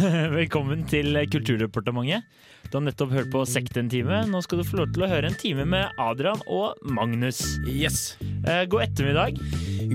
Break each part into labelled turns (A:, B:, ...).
A: Velkommen til Kulturdepartementet. Du har nettopp hørt på Sekt en time. Nå skal du få lov til å høre en time med Adrian og Magnus.
B: Yes.
A: Eh, God ettermiddag.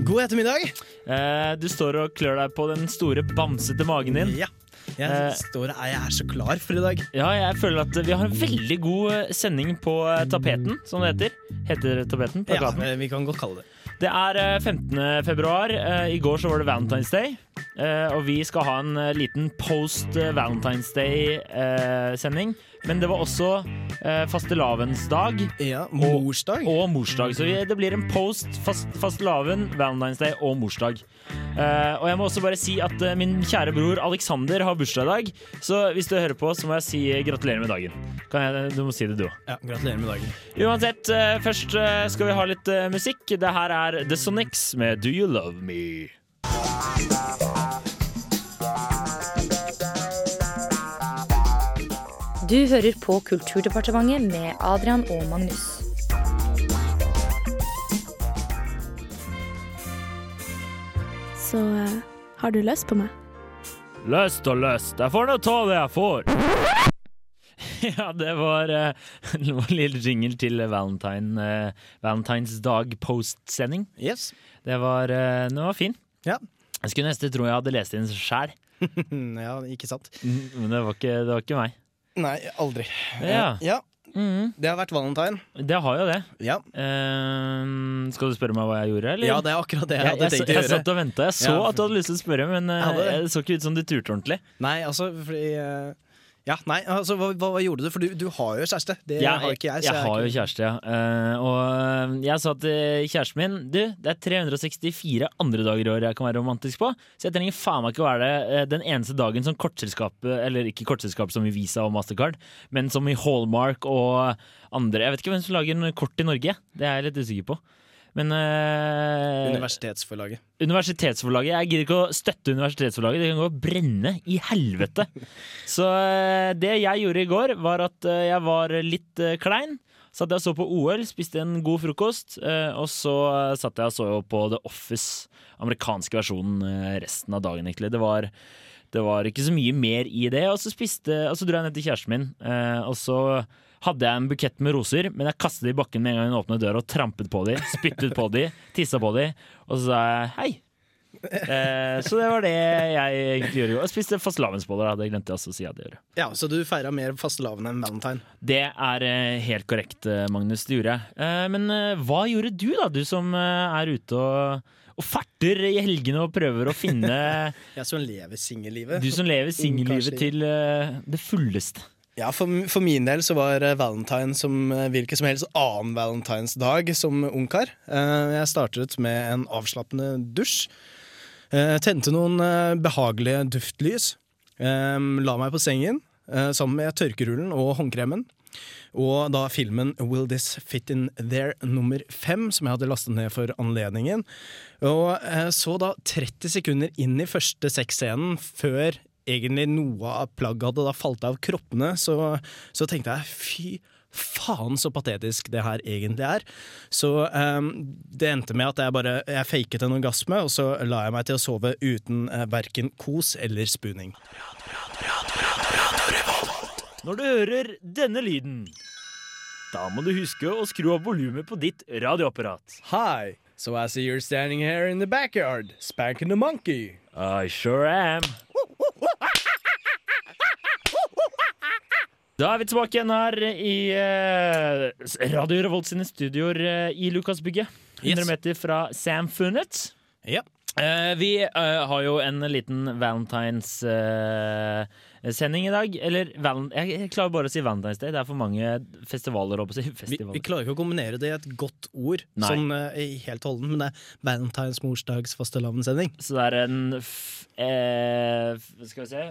B: God ettermiddag.
A: Eh, Du står og klør deg på den store bamsete magen din.
B: Ja.
A: Eh.
B: Jeg, står, jeg er så klar for i dag.
A: Ja, jeg føler at vi har en veldig god eh, sending på eh, tapeten, som det heter. Heter det tapeten?
B: Ja,
A: Plakaten.
B: men vi kan godt kalle det
A: Det er eh, 15. februar. Eh, I går så var det Valentine's Day. Eh, Og vi skal ha en eh, liten post eh, Valentine's Day-sending. Men det var også eh, fastelavnsdag
B: Ja, Morsdag.
A: og morsdag. Så vi- det blir en post fast, fastelavn, Valentine's Day og morsdag. Eh, og jeg må også bare si at eh, min kjære bror Alexander har bursdag i dag. Så hvis du hører på, så må jeg si eh, gratulerer med dagen. Kan jeg, du må si det, du òg.
B: Ja, gratulerer med dagen.
A: Uansett, eh, først eh, skal vi ha litt eh, musikk. Det her er The Sonics med Do You Love Me?
C: Du hører på Kulturdepartementet med Adrian og Magnus.
D: Så eh, har du lyst på meg?
A: Løst og løst, jeg får nå ta det jeg får. Ja, det var, eh, det var en lille jingle til Valentine, eh, Valentine's Dag post-sending.
B: Yes.
A: Det var, eh, den var fin.
B: Ja.
A: Jeg skulle nesten tro jeg hadde lest den sjæl,
B: Mm, ja, ikke sant.
A: men det var ikke, det var ikke meg.
B: Nei, aldri. Eh,
A: Ja.
B: ja.
A: Mhm,
B: Det har vært valentine.
A: det har jo det.
B: Ja.
A: Eh, skal du spørre meg hva jeg gjorde, eller?
B: ja, det er akkurat det jeg
A: Jeg,
B: hadde
A: jeg,
B: tenkt
A: jeg,
B: å
A: jeg
B: gjøre.
A: satt og venta. Jeg så
B: Ja.
A: at du hadde lyst til å spørre, men eh,
B: Jeg hadde det.
A: det så ikke ut som du turte ordentlig.
B: Nei, altså fordi eh, Ja, nei, altså hva, hva, hva gjorde du? For du, du har jo kjæreste. Det har ikke jeg.
A: jeg, har
B: er
A: jo
B: ikke-
A: kjæreste, ja. Eh, og eh, jeg sa til kjæresten min Du, det er 364 andre dager i året jeg kan være romantisk på, så jeg trenger faen meg ikke å være det eh, den eneste dagen som kortselskap Eller ikke kortselskap som i Visa og Mastercard, men som i Hallmark og andre Jeg vet ikke hvem som lager en kort i Norge, det er jeg litt usikker på. Men eh,
B: Universitetsforlaget.
A: Universitetsforlaget. Jeg gidder ikke å støtte universitetsforlaget. Det kan gå og brenne i helvete. Så eh, det jeg gjorde i går, var at eh, jeg var litt eh, klein. Satt jeg og så på OL, spiste en god frokost, eh, og så eh, satt jeg og så på The Office, amerikanske versjonen, eh, resten av dagen, egentlig. Det var, det var ikke så mye mer i det. Og så, spiste, og så dro jeg ned til kjæresten min, eh, og så hadde jeg en bukett med roser, men jeg kastet de i bakken med en gang hun åpnet døra og trampet på de, spyttet på de, tissa på de, og så sa jeg hei. Eh, så det var det jeg egentlig gjorde. i går. Jeg spiste fastelavnsboller, da, det glemte jeg også å si at jeg gjorde.
B: Ja, Så du feira mer fastelavn enn valentine?
A: Det er eh, helt korrekt, eh, Magnus. Det gjorde jeg. Eh, Men eh, hva gjorde du, da? Du som eh, er ute og, og farter i helgene og prøver å finne
B: Jeg som lever singellivet.
A: Du som lever singellivet til eh, det fulleste.
B: Ja, for, for min del så var eh, valentine som eh, hvilken som helst annen valentinsdag som ungkar. Eh, Jeg startet med en avslappende dusj. Eh, Tente noen eh, behagelige duftlys. Eh, La meg på sengen eh, sammen med tørkerullen og håndkremen. Og da filmen 'Will This Fit In There' nummer fem, som jeg hadde lastet ned for anledningen. Og eh, så da 30 sekunder inn i første sexscenen, før egentlig noe av plagget hadde da falt av kroppene, så, så tenkte jeg fy faen så patetisk det her egentlig er. Så ehm, det endte med at jeg bare jeg faket en orgasme, og så la jeg meg til å sove uten eh, verken kos eller spooning.
A: Når du hører denne lyden, da må du huske å skru opp volumet på ditt radioapparat.
B: Hi, so I see you're standing here in the backyard, spanking the monkey.
A: I sure am. Da er vi tilbake igjen her i eh, Radio Revolt sine studioer eh, i Lukasbygget. 100
B: Yes.
A: meter fra samfunnet.
B: Ja.
A: Eh, vi eh, har jo en liten Valentines-sending i dag. Eller valen jeg, jeg klarer bare å si Valentine's Day. Det er for mange festivaler. holdt jeg på å si.
B: Vi,
A: Festivaler.
B: vi klarer ikke å kombinere det i et godt ord,
A: Nei.
B: sånn eh, helt holden, men det er Valentines morsdags fastelavnssending.
A: Så det er en f, eh, f, Skal vi se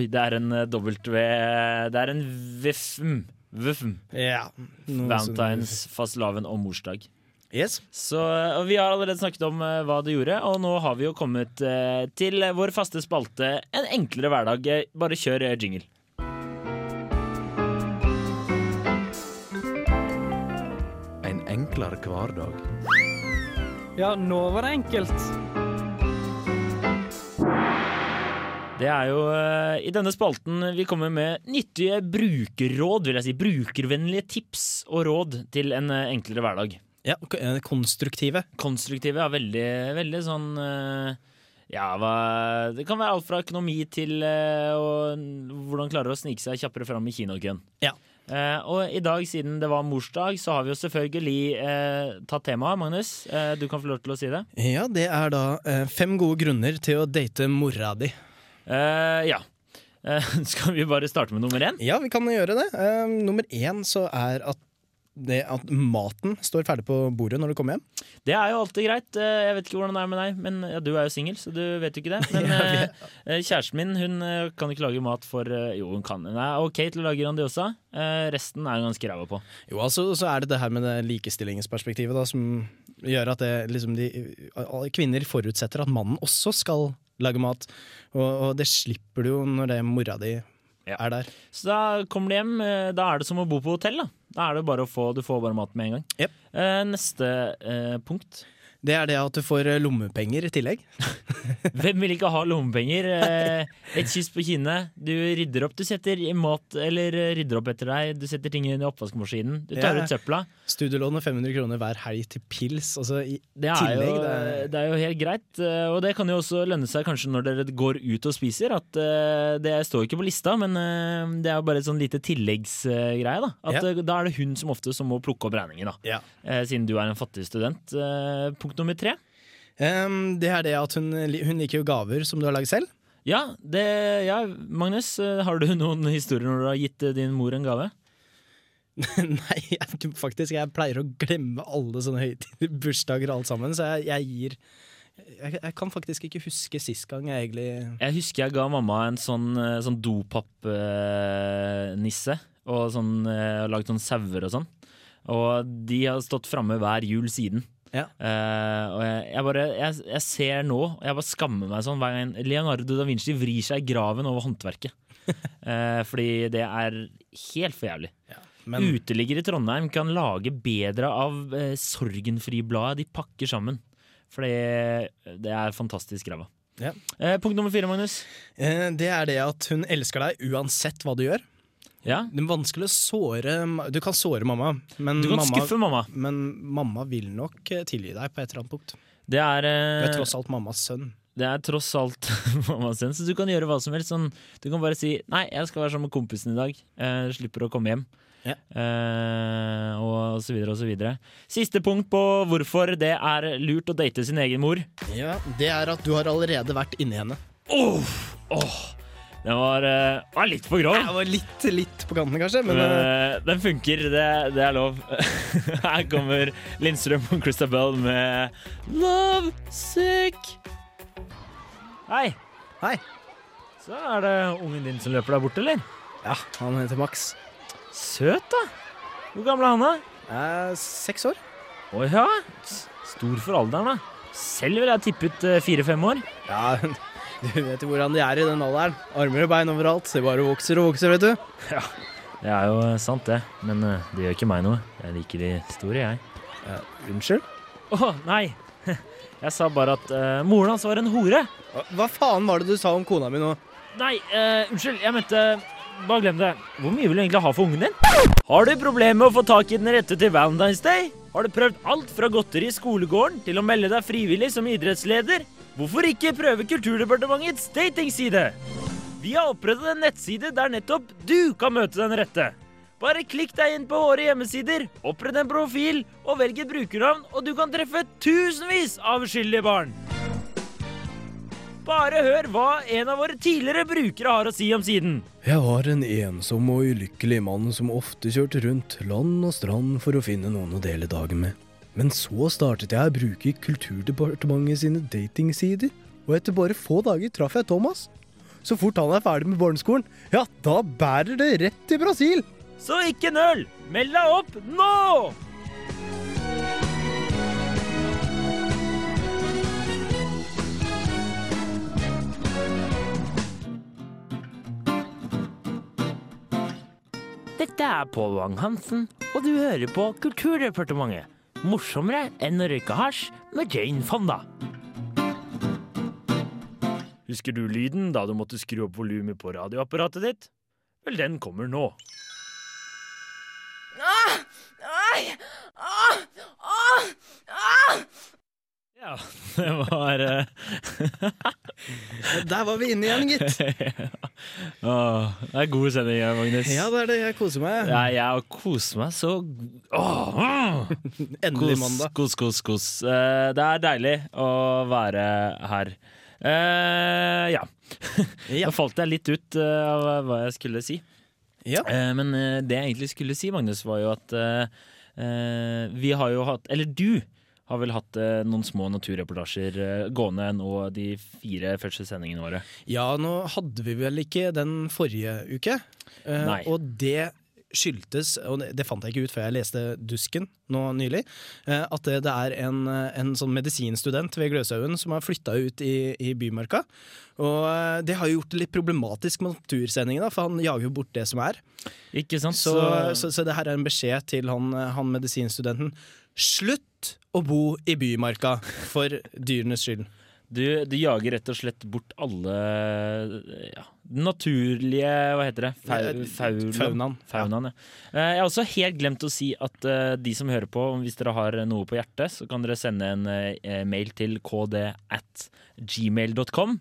A: Oi, det er en eh, W Det er en VFM. VFM.
B: Ja. Noe
A: Valentines, fastelavn og morsdag.
B: sånn- Yes.
A: Så eh, og Vi har allerede snakket om eh, hva det gjorde, og nå har vi jo kommet eh, til vår faste spalte En enklere hverdag. Eh, Bare kjør eh, jingle.
E: En enklere hverdag.
F: Ja, nå var det enkelt.
A: Det er jo eh, i denne spalten vi kommer med nyttige brukerråd, vil jeg si. Brukervennlige tips og råd til en eh, enklere hverdag.
B: Ja, ok, eh, konstruktive.
A: Konstruktive er veldig, veldig sånn eh, Ja, hva Det kan være alt fra økonomi til eh, og, hvordan klare å snike seg kjappere fram i kinokøen.
B: Ja.
A: Eh, og i dag, siden det var morsdag, så har vi jo selvfølgelig eh, tatt temaet, Magnus. Eh, du kan få lov til å si det.
B: Ja, det er da eh, fem gode grunner til å date mora di.
A: Eh, ja. Eh, skal vi bare starte med nummer én?
B: Ja, vi kan gjøre det. Eh, nummer én så er at det at maten står ferdig på bordet når du kommer hjem.
A: Det er jo alltid greit. Eh, Jeg vet ikke hvordan det er med deg, men ja, du er jo singel, så du vet jo ikke det. Men eh, eh, kjæresten min hun eh, kan ikke lage mat for eh, Jo, hun kan. Hun er OK til å lage Grandiosa. Eh, Resten er hun ganske ræva på.
B: Jo, altså så er det det her med det likestillingsperspektivet da, som gjør at det, liksom de, kvinner forutsetter at mannen også skal lage mat. Og, og det slipper du jo når det er mora di
A: Ja.
B: er der.
A: Så da kommer du hjem. eh, Da er det som å bo på hotell. Da Da er det bare å få, Du får bare mat med en gang.
B: Jep.
A: Eh, Neste eh, punkt.
B: Det er det at du får eh, lommepenger i tillegg.
A: Hvem vil ikke ha lommepenger? Eh, Et kyss på kinnet. Du rydder opp. Du setter i mat Eller eh, rydder opp etter deg. Du setter ting inn i oppvaskmaskinen. Du tar
B: Ja.
A: ut søpla.
B: Studielån og 500 kroner hver helg til pils. Altså, i,
A: Det er,
B: Tillegg,
A: jo, det, er...
B: det er-
A: jo helt greit, eh, og det kan jo også lønne seg kanskje når dere går ut og spiser. At eh, Det står jo ikke på lista, men eh, det er jo bare et sånn lite tilleggsgreie. Da At
B: Ja.
A: eh, da er det hun som ofte som må plukke opp regningen, da
B: ja.
A: eh, siden du er en fattig student. Eh, Punkt nummer tre.
B: Em, Ehm, det er det at hun, li- hun liker jo gaver som du har lagd selv.
A: Ja, det, ja, Magnus, eh, har du noen historier når du har gitt eh, din mor en gave?
B: Nei, jeg, faktisk. Jeg pleier å glemme alle sånne høytider, bursdager og alt sammen, så jeg, jeg gir jeg, jeg kan faktisk ikke huske sist gang jeg egentlig
A: Jeg husker jeg ga mamma en sånn, eh, sånn dopapnisse. Og sånn, eh, lagd sånn sauer og sånn. Og de har stått framme hver jul siden.
B: Ja.
A: Eh, og jeg, jeg bare jeg, jeg ser nå, og jeg bare skammer meg sånn hver gang Leonardo da Vinci vrir seg i graven over håndverket. Eh, fordi det er helt for jævlig.
B: Men
A: Uteligger i Trondheim kan lage bedre av eh, Sorgenfribladet de pakker sammen. Fordi det er fantastisk ræva.
B: Ja.
A: Eh, punkt nummer fire, Magnus.
B: eh, det er det at hun elsker deg uansett hva du gjør.
A: Ja,
B: Det er vanskelig å såre ma- Du kan såre mamma, men,
A: Du kan
B: mamma,
A: skuffe mamma.
B: men mamma vil nok eh, tilgi deg på et eller annet punkt.
A: Det er,
B: Du er
A: eh,
B: tross alt mammas sønn.
A: det er tross alt mamma sin, så du kan gjøre hva som helst. Sånn, du kan bare si 'nei, jeg skal være sammen med kompisen i dag', eh, slipper å komme hjem.
B: Ja.
A: Eh, og så videre og så videre. Siste punkt på hvorfor det er lurt å date sin egen mor.
B: Ja, Det er at du har allerede vært inni henne.
A: Uff, Åh! den var, eh, var litt for grov.
B: Jeg var litt, litt på kanten, kanskje, men eh,
A: Men, eh, den funker, det, det er lov. Her kommer Lindstrøm og Christabel med Love Sick. Hei.
B: Hei.
A: Så er det ungen din som løper der borte, eller?
B: ja, han heter Max.
A: Søt, da. Hvor gammel er han, da?
B: Jeg er seks år.
A: Å ja. S- Stor for alderen, da. Selv vil jeg tippe ut eh, fire-fem år.
B: Ja, Du vet jo hvordan de er i den alderen. Armer og bein overalt. De bare vokser og vokser, vet du.
A: Det er jo eh, sant, det. Men eh, det gjør ikke meg noe. Jeg liker de store, jeg.
B: Eh, Unnskyld?
A: Å, nei. Jeg sa bare at eh, moren hans var en hore.
B: Hva, hva faen var det du sa om kona mi nå?
A: Nei, eh, unnskyld, jeg mente Bare glem det. Hvor mye vil du egentlig ha for ungen din? Har du problemer med å få tak i den rette til Valentine's Day? Har du prøvd alt fra godteri i skolegården til å melde deg frivillig som idrettsleder? Hvorfor ikke prøve Kulturdepartementets datingside? Vi har opprettet en nettside der nettopp du kan møte den rette. Bare klikk deg inn på våre hjemmesider, opprett en profil og velg et brukernavn, og du kan treffe tusenvis av uskyldige barn. Bare hør hva en av våre tidligere brukere har å si om siden.
B: Jeg var en ensom og ulykkelig mann som ofte kjørte rundt land og strand for å finne noen å dele dagen med. Men så startet jeg å bruke Kulturdepartementet sine datingsider, og etter bare få dager traff jeg Thomas. Så fort han er ferdig med barneskolen, ja, da bærer det rett til Brasil!
A: Så ikke nøl! Meld deg opp nå! Dette er Pål Wang Hansen, og du hører på Kulturdepartementet. Morsommere enn å røyke hasj med Jane Fonda. Husker du lyden da du måtte skru opp volumet på radioapparatet ditt? Vel, den kommer nå. Ja, det var eh,
B: Der var vi inne igjen, gitt.
A: åh, Det er god sending, ja, Magnus.
B: Ja, det er det. Jeg koser meg.
A: Nei, jeg har kost meg så Åh! mm.
B: Endelig
A: Kos,
B: mandag.
A: kos, kos, kos. Eh, det er deilig å være her. Eh, ja.
B: Ja.
A: Nå falt jeg litt ut eh, av hva jeg skulle si.
B: Ja.
A: Eh, men eh, det jeg egentlig skulle si, Magnus, var jo at eh, eh, vi har jo hatt Eller du har vel hatt eh, noen små naturreportasjer eh, gående nå de fire første sendingene våre.
B: ja, nå hadde vi vel ikke den forrige uke, eh,
A: Nei.
B: og det skyldtes, og det- det fant jeg ikke ut før jeg leste Dusken nå nylig, eh, at det, det er en, eh, en sånn medisinstudent ved Gløshaugen som har flytta ut i, i Bymarka. Og eh, det har jo gjort det litt problematisk med natursendingen, da, for han jager jo bort det som er.
A: Ikke sant?
B: Så, så, så det her er en beskjed til han, eh, han medisinstudenten. Slutt å bo i bymarka for dyrenes skyld.
A: Du, du jager rett og slett bort alle ja, naturlige Hva heter det? Fau, faula-
B: Faunaen.
A: Faunaen, ja. Eh, Jeg har også helt glemt å si at eh, de som hører på, hvis dere har noe på hjertet, så kan dere sende en eh, mail til kd at gmail.com.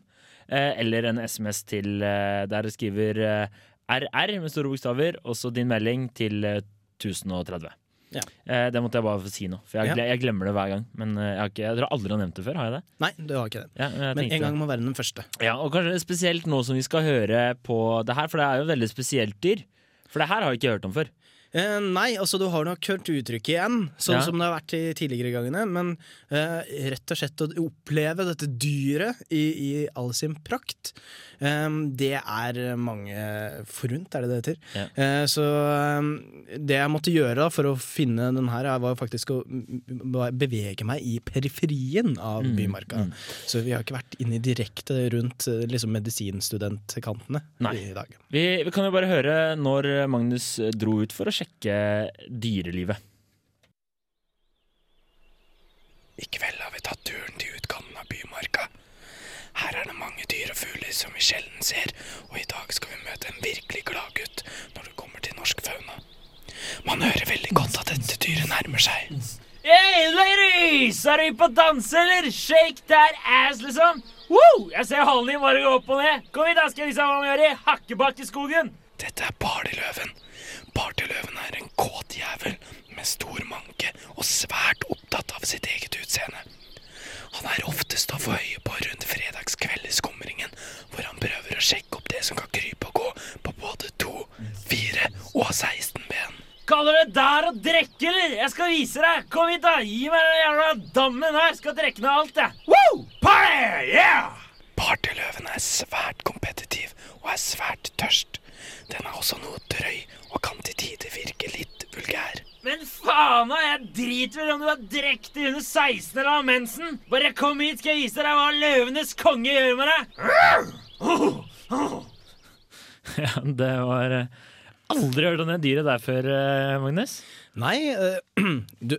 A: eh, Eller en SMS til eh, der det skriver eh, RR med store bokstaver, og så din melding til eh, 1030.
B: Ja.
A: Eh, Det måtte jeg bare få si nå, for jeg, gle- jeg glemmer det hver gang. Men eh, jeg, har ikke, jeg tror aldri jeg har nevnt det før, har jeg det?
B: Nei, det var ikke det.
A: Ja, jeg
B: Men
A: tenkte-
B: en gang må være den første.
A: ja, og kanskje spesielt nå som vi skal høre på det her, for det er jo veldig spesielt dyr. For det her har vi ikke hørt om før.
B: Eh, nei, altså du har nok hørt uttrykket igjen, sånn
A: Ja.
B: som det har vært de tidligere gangene. Men eh, rett og slett å oppleve dette dyret i, i all sin prakt, eh, det er mange forunt, er det det heter.
A: Ja.
B: Eh, så eh, det jeg måtte gjøre da, for å finne den her, er- var faktisk å mm, be- bevege meg i periferien av
A: Mm,
B: Bymarka.
A: mm.
B: Så vi har ikke vært inne direkte rundt eh, liksom, medisinstudentkantene
A: Nei.
B: i dag.
A: Vi, vi kan jo bare høre når Magnus dro ut for å sjekke dyrelivet.
B: I kveld har vi tatt turen til utkanten av Bymarka. Her er det mange dyr og fugler som vi sjelden ser, og i dag skal vi møte en virkelig gladgutt når det kommer til norsk fauna. Man hører veldig godt at dette dyret nærmer seg.
A: Hey ladies! Er vi på danse, eller? Shake that ass, liksom! Woo! Jeg ser halen din bare gå opp og ned. Kom hit, da skal jeg vise deg hva man gjør i Hakkebakkeskogen.
B: Dette er partyløven. Partyløven er en kåt jævel med stor manke og svært opptatt av sitt eget utseende. Han er oftest å få øye på rundt fredagskveld i skumringen, hvor han prøver å sjekke opp det som kan krype og gå på både to, fire og 16 ben.
A: Kaller du det der å drikke, eller? Jeg skal vise deg. Kom hit, da. Gi meg den jævla dammen her. Skal drikke ned alt, jeg. Woo! Party! Yeah!
B: Partyløven er svært kompetitiv og er svært tørst. Den er også noe drøy og kan til tider virke litt vulgær.
A: Men faen da, jeg driter vel om du har drekt under 16 eller har mensen. Bare kom hit, skal jeg vise deg hva løvenes konge gjør med deg. Ja, det var eh, Aldri hørt om det dyret der før, eh, Magnus.
B: Nei, eh, du,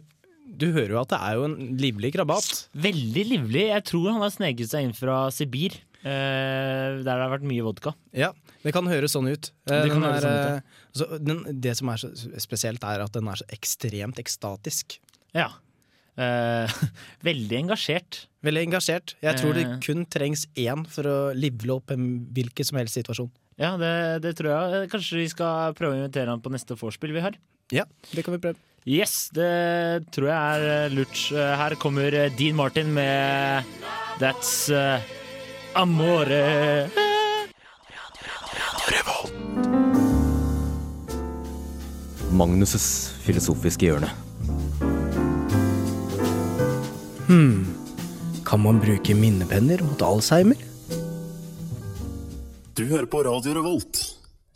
B: hører jo at det er jo en livlig krabat.
A: Veldig livlig. Jeg tror han har sneket seg inn fra Sibir, eh, der det har vært mye vodka.
B: Ja, det kan høres sånn ut. Eh,
A: Det kan
B: den
A: høres
B: er,
A: sånn
B: eh, så den, det som er så spesielt, er at den er så ekstremt ekstatisk.
A: Ja. Eh, veldig engasjert.
B: Veldig engasjert. Jeg tror det
A: Eh.
B: kun trengs én for å livle opp en hvilken som helst situasjon.
A: Ja, det, det tror jeg. Eh, Kanskje vi skal prøve å invitere han på neste vorspiel vi har.
B: Ja, det kan vi prøve.
A: Yes, det tror jeg er eh, lurt. Eh, Her kommer eh, Dean Martin med That's eh, Amore.
F: Magnus' filosofiske hjørne.
B: Hmm. Kan man bruke minnepenner mot alzheimer?
G: Du hører på Radio Revolt,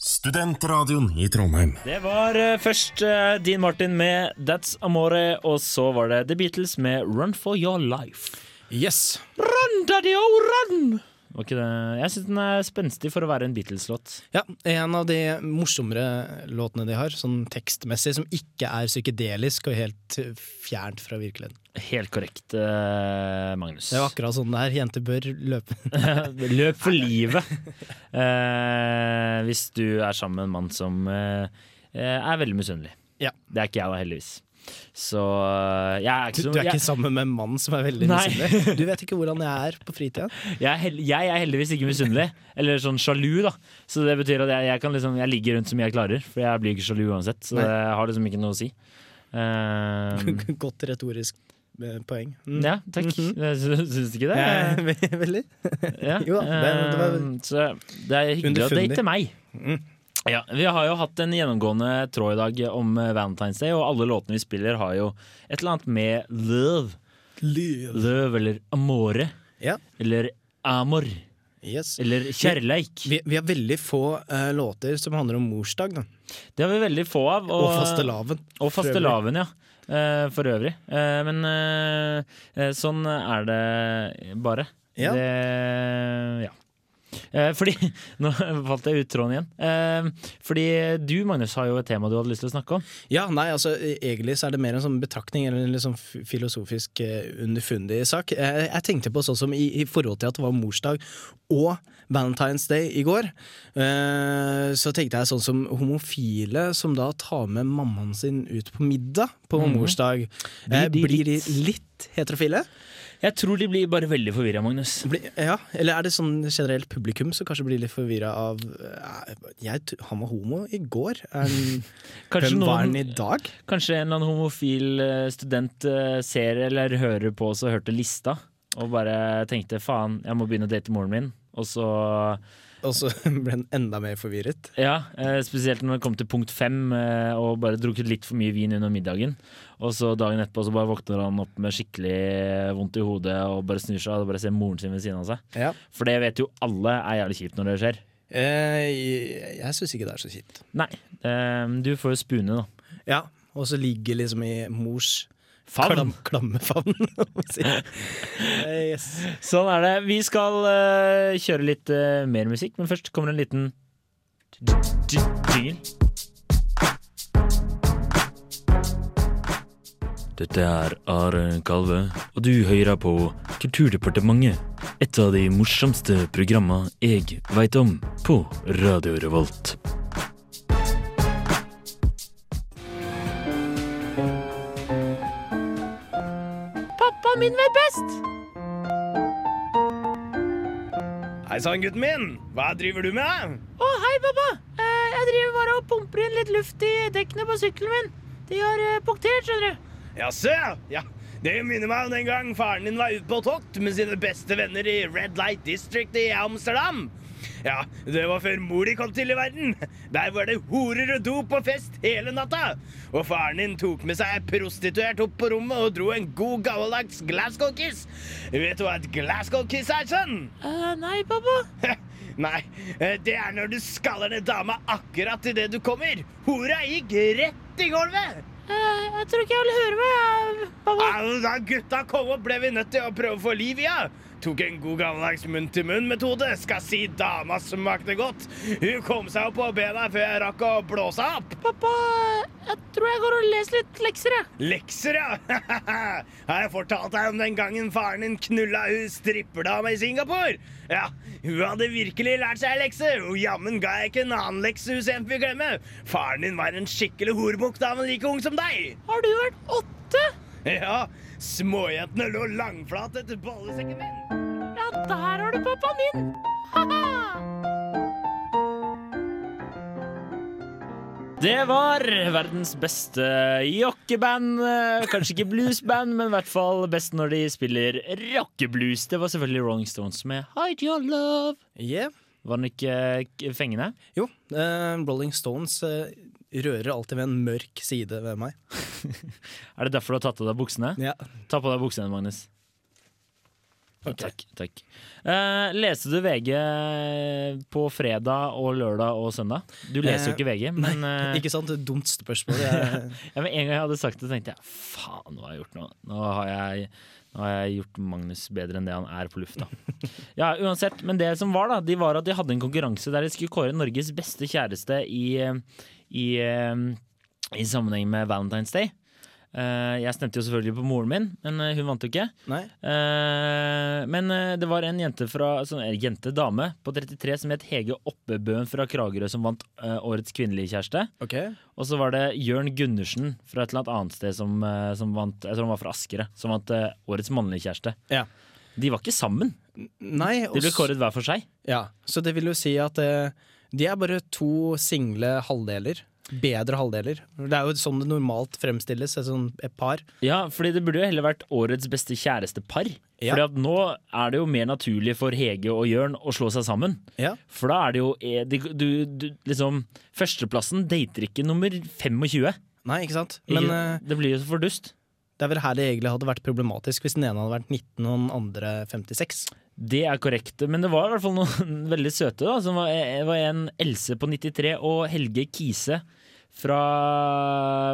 G: studentradioen i Trondheim.
A: Det var eh, først eh, Dean Martin med That's Amore, og så var det The Beatles med Run for Your Life.
B: Yes.
A: Run, daddy, oh, run! Var ikke det? Jeg syns den er spenstig for å være en Beatles-låt.
B: Ja, En av de morsommere låtene de har, sånn tekstmessig, som ikke er psykedelisk og helt fjernt fra virkeligheten.
A: Helt korrekt, eh, Magnus.
B: Det er jo akkurat sånn det er. Jenter bør løpe.
A: Løp for livet eh, hvis du er sammen med en mann som eh, er veldig misunnelig.
B: Ja.
A: Det er ikke jeg da, heldigvis. Så eh, jeg er
B: Du,
A: ikke så
B: du er ikke
A: jeg,
B: sammen med en mann som er veldig
A: Nei.
B: misunnelig. Du vet ikke hvordan jeg er på fritida.
A: jeg, er hel- jeg er heldigvis ikke misunnelig, eller sånn sjalu, da. Så det betyr at jeg, jeg, kan liksom, jeg ligger rundt så mye jeg klarer, for jeg blir ikke sjalu uansett. Så
B: Nei.
A: det har liksom ikke noe å si. Eh,
B: Godt retorisk eh, poeng. Mm.
A: ja, takk.
B: Mhm.
A: Syns du ikke det?
B: Eh, ve- veldig.
A: Ja.
B: Jo da, det- det var-
A: eh, Så det er hyggelig å
B: Underfundig.
A: date meg.
B: Mm.
A: Ja, Vi har jo hatt en gjennomgående tråd i dag om eh, Valentine's Day, og alle låtene vi spiller har jo et eller annet med love. Love eller amore.
B: Ja.
A: Eller amor.
B: Yes.
A: Eller kjærleik.
B: Vi, vi har veldig få eh, låter som handler om morsdag, da.
A: Det har vi veldig få av.
B: Og, fastelavn.
A: Og
B: for øvrig.
A: fastelavn, ja. Eh, For øvrig. Eh, Men eh, eh, sånn er det bare.
B: Ja.
A: Det, ja. Eh, Fordi Nå falt jeg ut tråden igjen. Eh, Fordi du, Magnus, har jo et tema du hadde lyst til å snakke om.
B: Ja, nei, altså eh, egentlig så er det mer en sånn betraktning eller en litt sånn f- filosofisk eh, underfundig sak. Eh, jeg tenkte på sånn som i, i forhold til at det var morsdag og Valentine's Day i går, eh, så tenkte jeg sånn som homofile som da tar med mammaen sin ut på middag på morsdag.
A: Blir
B: Eh,
A: de
B: Mhm. blir de
A: litt-
B: litt heterofile?
A: Jeg tror de blir bare veldig forvirra, Magnus.
B: Bli, ja, eller er det sånn generelt publikum som kanskje blir litt forvirra av eh, jeg, t- Han var homo i går. Er han-
A: Kanskje,
B: Hvem var han i
A: noen,
B: dag?
A: kanskje en eller annen homofil eh, student eh, ser eller hører på oss og hørte lista, og bare tenkte faen, jeg må begynne å date moren min. Og så
B: Og så ble han enda mer forvirret.
A: Ja, eh, spesielt når det kom til punkt fem eh, og bare drukket litt for mye vin under middagen. Og så dagen etterpå så bare våkner han opp med skikkelig eh, vondt i hodet og bare snur seg og bare ser moren sin ved siden av seg.
B: Ja.
A: For det vet jo alle er jævlig kjipt når det skjer.
B: Eh, jeg jeg syns ikke det er så kjipt.
A: Nei, eh, du får jo spune, da.
B: Ja, Og så ligge liksom i mors
A: Favn!
B: klam, klamme favn. om å si. Eh, yes.
A: Sånn er det. Vi skal eh, kjøre litt eh, mer musikk, men først kommer en liten jingle. Dette er Are Kalve, og du hører på Kulturdepartementet. Et av de morsomste programma jeg veit om på Radio Revolt.
B: Hei sann, gutten min! Hva driver du med?
F: Å, hei, pappa! Eh, jeg driver bare og pumper inn litt luft i dekkene på sykkelen min. De har eh, punktert, skjønner du.
B: Jaså? Ja. Det minner meg om den gang faren din var ute på tokt med sine beste venner i Red Light District i Amsterdam. Ja, det var før mor di kom til i verden. Der var det horer og dop og fest hele natta. Og faren din tok med seg prostituert opp på rommet og dro en god gammeldags Glasgow-kiss. Vet du hva et Glasgow-kiss er, sønn?
F: Eh, nei, pappa.
B: Nei, eh, det er når du skaller ned dama akkurat idet du kommer. Hora gikk rett i gulvet.
F: Eh, jeg tror ikke jeg vil høre meg, eh, pappa.
B: Au, Da gutta kom opp, ble vi nødt til å prøve å få liv i henne. Tok en god gammeldags munn-til-munn-metode. Skal si dama smakte godt. Hun kom seg opp på bena før jeg rakk å blåse opp.
F: Pappa, eh, jeg tror jeg går og leser litt lekser, jeg.
B: Lekser, ja! Har jeg fortalt deg om den gangen faren din knulla hun stripperdama i Singapore? Ja, hun hadde virkelig lært seg lekse, og jammen ga jeg ikke en annen lekse hun sent vil glemme. Faren din var en skikkelig horbukk da han var like ung som deg.
F: Har du vært åtte?
B: Ja, småjentene lå langflat etter bollesekken min.
F: Ja, der har du pappaen min. Ha-ha!
A: Det var verdens beste rockeband. eh, Kanskje ikke bluesband, men i hvert fall best når de spiller rockeblues. Det var selvfølgelig Rolling Stones med Hide Your Love.
B: Yeah.
A: Var den ikke k- fengende?
B: Jo, eh, Rolling Stones eh, rører alltid ved en mørk side ved meg.
A: Er det derfor du har tatt av deg buksene?
B: Ja.
A: Ta på deg buksene, Magnus. Takk. takk. Eh, leste du VG på fredag og lørdag og søndag? Du leser jo
B: Eh,
A: ikke VG, men eh,
B: Ikke sant? Det er et dumt spørsmål. Jeg,
A: ja, men en gang jeg hadde sagt det, tenkte jeg faen, nå har jeg gjort noe. Nå har jeg, nå har jeg gjort Magnus bedre enn det han er på lufta. Ja, uansett, men det som var, da, de var at de hadde en konkurranse der de skulle kåre Norges beste kjæreste i, eh, i, eh, i sammenheng med Valentine's Day. Eh, Jeg stemte jo selvfølgelig på moren min, men eh, hun vant jo ikke.
B: nei.
A: Eh, men eh, det var en jente, fra, sånn, eh, jente dame på 33 som het Hege Oppebøen fra Kragerø, som vant eh, årets kvinnelige kjæreste.
B: Ok.
A: Og så var det Jørn Gundersen fra et eller annet annet sted som, eh, som vant Jeg tror han var fra Askere, som vant eh, årets mannlige kjæreste.
B: Ja.
A: De var ikke sammen,
B: Nei, og
A: de ble
B: s-
A: kåret hver for seg.
B: Ja, så det vil jo si at eh, de er bare to single halvdeler. Bedre halvdeler. Det er jo sånn det normalt fremstilles, et, sånn, et par.
A: Ja, fordi det burde jo heller vært årets beste kjærestepar.
B: Ja.
A: Fordi at nå er det jo mer naturlig for Hege og Jørn å slå seg sammen.
B: Ja.
A: For da er det jo eh, de- du, du, liksom, Førsteplassen dater ikke nummer 25.
B: Nei, ikke sant?
A: Men,
B: Men eh,
A: det blir jo så for dust.
B: det er vel her det egentlig hadde vært problematisk, hvis den ene hadde vært 19 og den andre 56.
A: Det er korrekt. Men det var i hvert fall noen veldig søte. da Som var, eh, var en Else på 93 og Helge Kise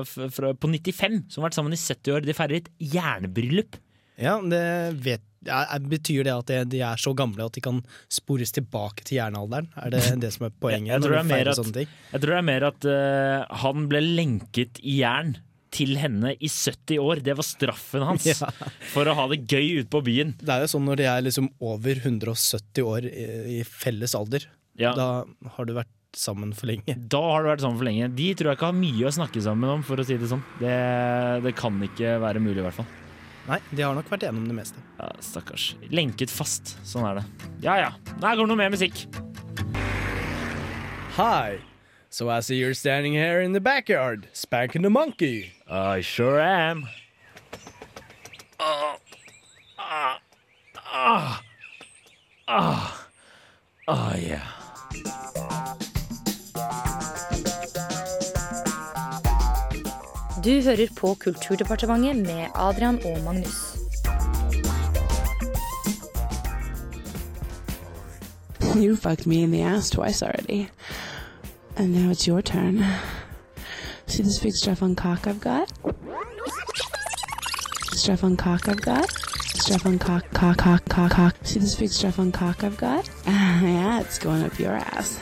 A: fra, fra, på 95, som har vært sammen i 70 år. De feirer et jernbryllup.
B: Ja, det vet ja, er- Betyr det at de- de er så gamle at de kan spores tilbake til jernalderen? Er det det som er poenget?
A: Jeg- jeg tror
B: når
A: det er
B: du
A: mer
B: feirer
A: at-
B: sånne ting?
A: Jeg tror det er mer at eh, han ble lenket i jern til henne i 70 år. Det var straffen hans
B: Ja.
A: for å ha det gøy ute på byen.
B: Det er jo sånn når de er liksom over 170 år i, i felles alder.
A: Ja. Da,
B: Da har du vært sammen for lenge.
A: har du vært sammen for lenge. De tror jeg ikke har mye å snakke sammen om, for å si det sånn. Det, det kan ikke være mulig, i hvert fall.
B: Nei, de har nok vært gjennom det meste.
A: Ja, stakkars. Lenket fast. Sånn er det. Ja ja. Der kommer noe mer musikk.
B: Hi. So I see you're standing here in the backyard, spanking the monkey.
A: I sure am. Ah, ah, ah, ah, ah, yeah.
C: Du hører på Kulturdepartementet med Adrian og Magnus.
H: You fucked me in the ass twice already. And now it's your turn. See this big strap on cock I've got? Strap on cock I've got? Strap on cock, cock, cock, cock, cock. See this big strap on cock I've got? yeah, it's going up your ass.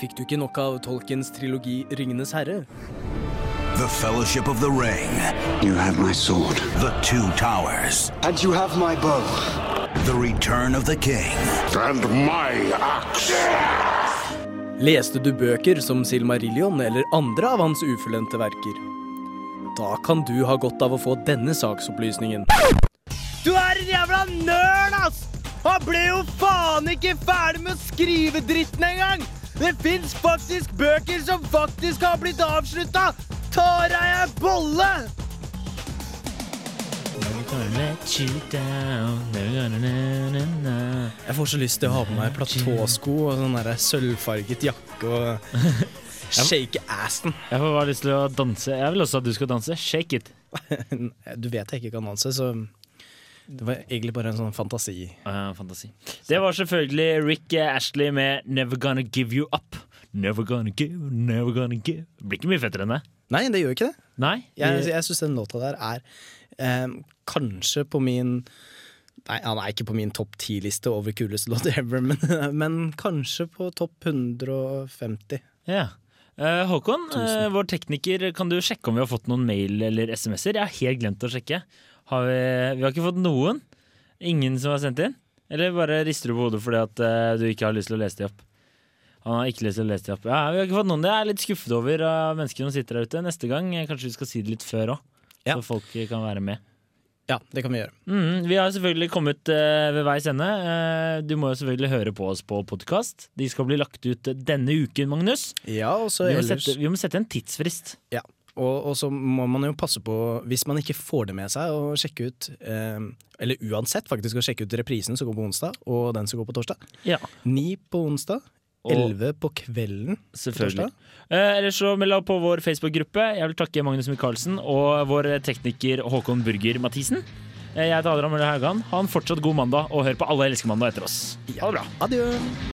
B: Fikk du ikke nok av Tolkiens trilogi 'Ringenes herre'?
I: The Fellowship of the Ring.
J: You have my sword.
I: The Two Towers.
J: And you have my bow.
I: The Return of the King.
G: And my axe!
B: Leste du bøker som Silmarillion eller andre av hans ufullendte verker? Da kan du ha godt av å få denne saksopplysningen. Du er en jævla nerd, ass! Han ble jo faen ikke ferdig med å skrive dritten engang! Det fins faktisk bøker som faktisk har blitt avslutta! Ta deg ei bolle!
A: Never gonna let you down. Never gonna na, na, na.
B: Jeg får så lyst til å ha på meg platåsko og sånn der sølvfarget jakke og shake assen.
A: Jeg får bare lyst til å danse. Jeg vil også at du skal danse. Shake it.
B: Du vet jeg ikke kan danse, så det var egentlig bare en sånn fantasi.
A: Ah, fantasi. Det var selvfølgelig Rick Ashley med 'Never Gonna Give You Up'. Never gonna give, never gonna give. Det blir ikke mye fettere enn det.
B: Nei, det gjør ikke det.
A: Nei?
B: Jeg,
A: vi-
B: jeg syns den låta der er eh, kanskje på min Nei, han er ikke på min topp ti-liste over kuleste låt ever, men, men kanskje på topp 150.
A: Ja. Eh, Håkon,
B: Tusen.
A: eh, vår tekniker, kan du sjekke om vi har fått noen mail eller SMS-er? Jeg har helt glemt å sjekke. Har vi, vi har ikke fått noen? Ingen som har sendt inn? Eller bare rister du på hodet fordi at eh, du ikke har lyst til å lese de opp? Han har ikke lyst til å lese de opp. Ja, vi har ikke fått noen. Det er jeg litt skuffet over av mennesker som sitter der ute. Neste gang eh, kanskje vi skal si det litt før òg,
B: Ja.
A: så folk kan være med.
B: Ja, det kan vi gjøre.
A: Mm, vi har selvfølgelig kommet eh, ved veis ende. Eh, du må jo selvfølgelig høre på oss på podkast. De skal bli lagt ut denne uken, Magnus.
B: Ja, og så
A: Vi må,
B: ellers
A: sette, vi må sette en tidsfrist.
B: Ja, og, og så må man jo passe på, hvis man ikke får det med seg, å sjekke ut eh, Eller uansett, faktisk, å sjekke ut reprisen som går på onsdag, og den som går på torsdag.
A: Ja.
B: Ni på onsdag,
A: Og-
B: 11 på kvelden.
A: Selvfølgelig.
B: Torsdag?
A: Eh, ellers så meld deg på vår Facebook-gruppe. Jeg vil takke Magnus Michaelsen og vår tekniker Håkon Burger Mathisen. Eh, Jeg heter Adrian Mølle Haugan. Ha en fortsatt god mandag, og hør på Alle elsker mandag etter oss. Ha det bra.
B: Adjø.